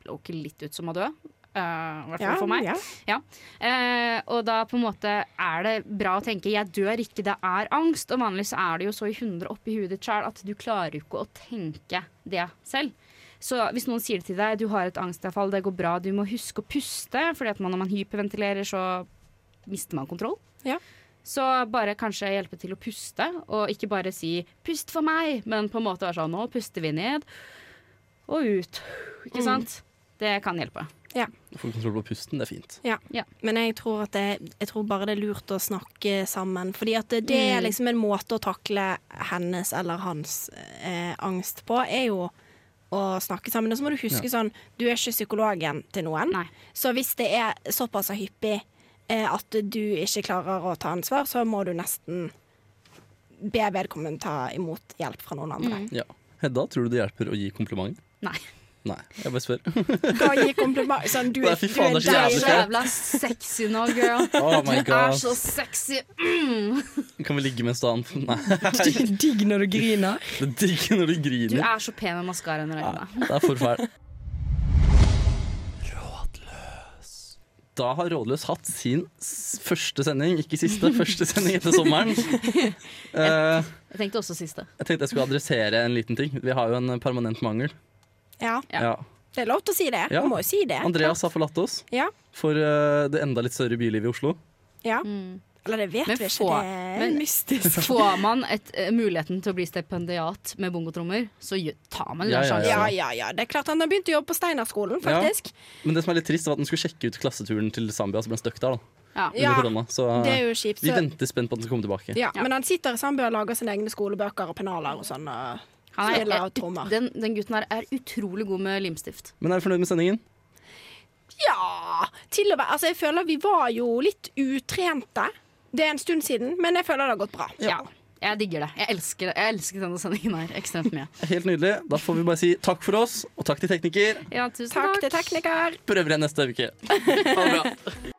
S5: ikke litt ut som å dø. Eh, I hvert fall for meg.
S4: ja.
S5: Eh, og da på en måte er det bra å tenke 'jeg dør ikke, det er angst'. Og vanligvis er det jo så i hundre oppi huet ditt sjøl at du klarer jo ikke å tenke det selv. Så hvis noen sier det til deg 'du har et angstavfall, det går bra, du må huske å puste', fordi at man, når man hyperventilerer, så mister man kontroll.
S4: Ja.
S5: Så bare kanskje hjelpe til å puste, og ikke bare si 'pust for meg', men på en måte være sånn 'nå puster vi ned og ut'. Ikke sant? Det kan hjelpe.
S1: Få kontroll på pusten, det er fint.
S4: Men jeg tror, at det, jeg tror bare det er lurt å snakke sammen. Fordi at det, det er
S5: Mm.
S4: liksom en måte å takle hennes eller hans eh, angst på, er jo å snakke sammen. Og så må du huske sånn, du er ikke psykologen til noen.
S5: Nei.
S4: Så hvis det er såpass hyppig eh, at du ikke klarer å ta ansvar, så må du nesten be vedkommende ta imot hjelp fra noen andre.
S1: Ja. Hedda, tror du det hjelper å gi komplimenter?
S5: Nei.
S1: Nei, jeg bare spør.
S4: Hva gir kompliment? Sånn, du
S1: Nei,
S4: er,
S1: fy
S4: du
S1: faen,
S4: er
S1: det er så
S4: deilig.
S1: skjer?
S5: jævla sexy nå, girl.
S1: Oh my
S5: Du er
S1: god.
S5: så sexy.
S1: Kan vi ligge mens du har den? Nei,
S3: Digg når du griner.
S1: det er digg når du
S5: Du
S1: griner.
S5: er så pen med maskara under øynene.
S1: Det er for fæl. Rådløs. Da har Rådløs hatt sin s- første sending, ikke siste, første sending etter sommeren. Eh,
S5: Jeg tenkte også siste.
S1: jeg tenkte jeg skulle adressere en liten ting. Vi har jo en permanent mangel.
S4: Ja,
S5: Ja.
S1: Ja.
S4: det er lov til å si det.
S1: Ja.
S4: Du må jo si det.
S1: Andreas har forlatt oss
S4: Ja,
S1: for eh, det enda litt større bylivet i Oslo.
S4: ja. Eller det vet
S5: Mm. Men
S4: vi ikke,
S5: få-
S4: det er
S5: men-
S4: mystisk.
S5: Får man et, eh, muligheten til å bli stipendiat med bongotrommer, så gjø- tar man den
S1: Ja, ja,
S5: sjansen.
S4: Ja, ja, ja. Det er klart han har begynt å jobbe på Steinerskolen, faktisk.
S1: Men det som er litt trist, var at den skulle sjekke ut klasseturen til Zambia, så ble den stuck der. da,
S5: Ja.
S1: under
S4: Ja,
S1: korona. Så eh,
S4: Det er jo kjipt.
S1: vi
S4: Så,
S1: venter spent på at den skal komme tilbake.
S4: ja, men han sitter i Sambø og lager sine egne skolebøker og pennaler og sånn. og
S5: Han er,
S4: Spiller
S5: er
S4: og trommer.
S5: ut- den, den gutten her er utrolig god med limstift.
S1: Men er du fornøyd med sendingen?
S4: Ja! Til og med Altså, jeg føler vi var jo litt utrente. Det er en stund siden, men jeg føler det har gått bra.
S5: Ja. Jeg digger det. Jeg elsker, jeg elsker denne sendingen her ekstremt mye.
S1: Helt nydelig. Da får vi bare si takk for oss, og takk til tekniker.
S5: Ja, tusen
S4: Takk til tekniker.
S1: Prøver igjen neste uke. Ha det bra.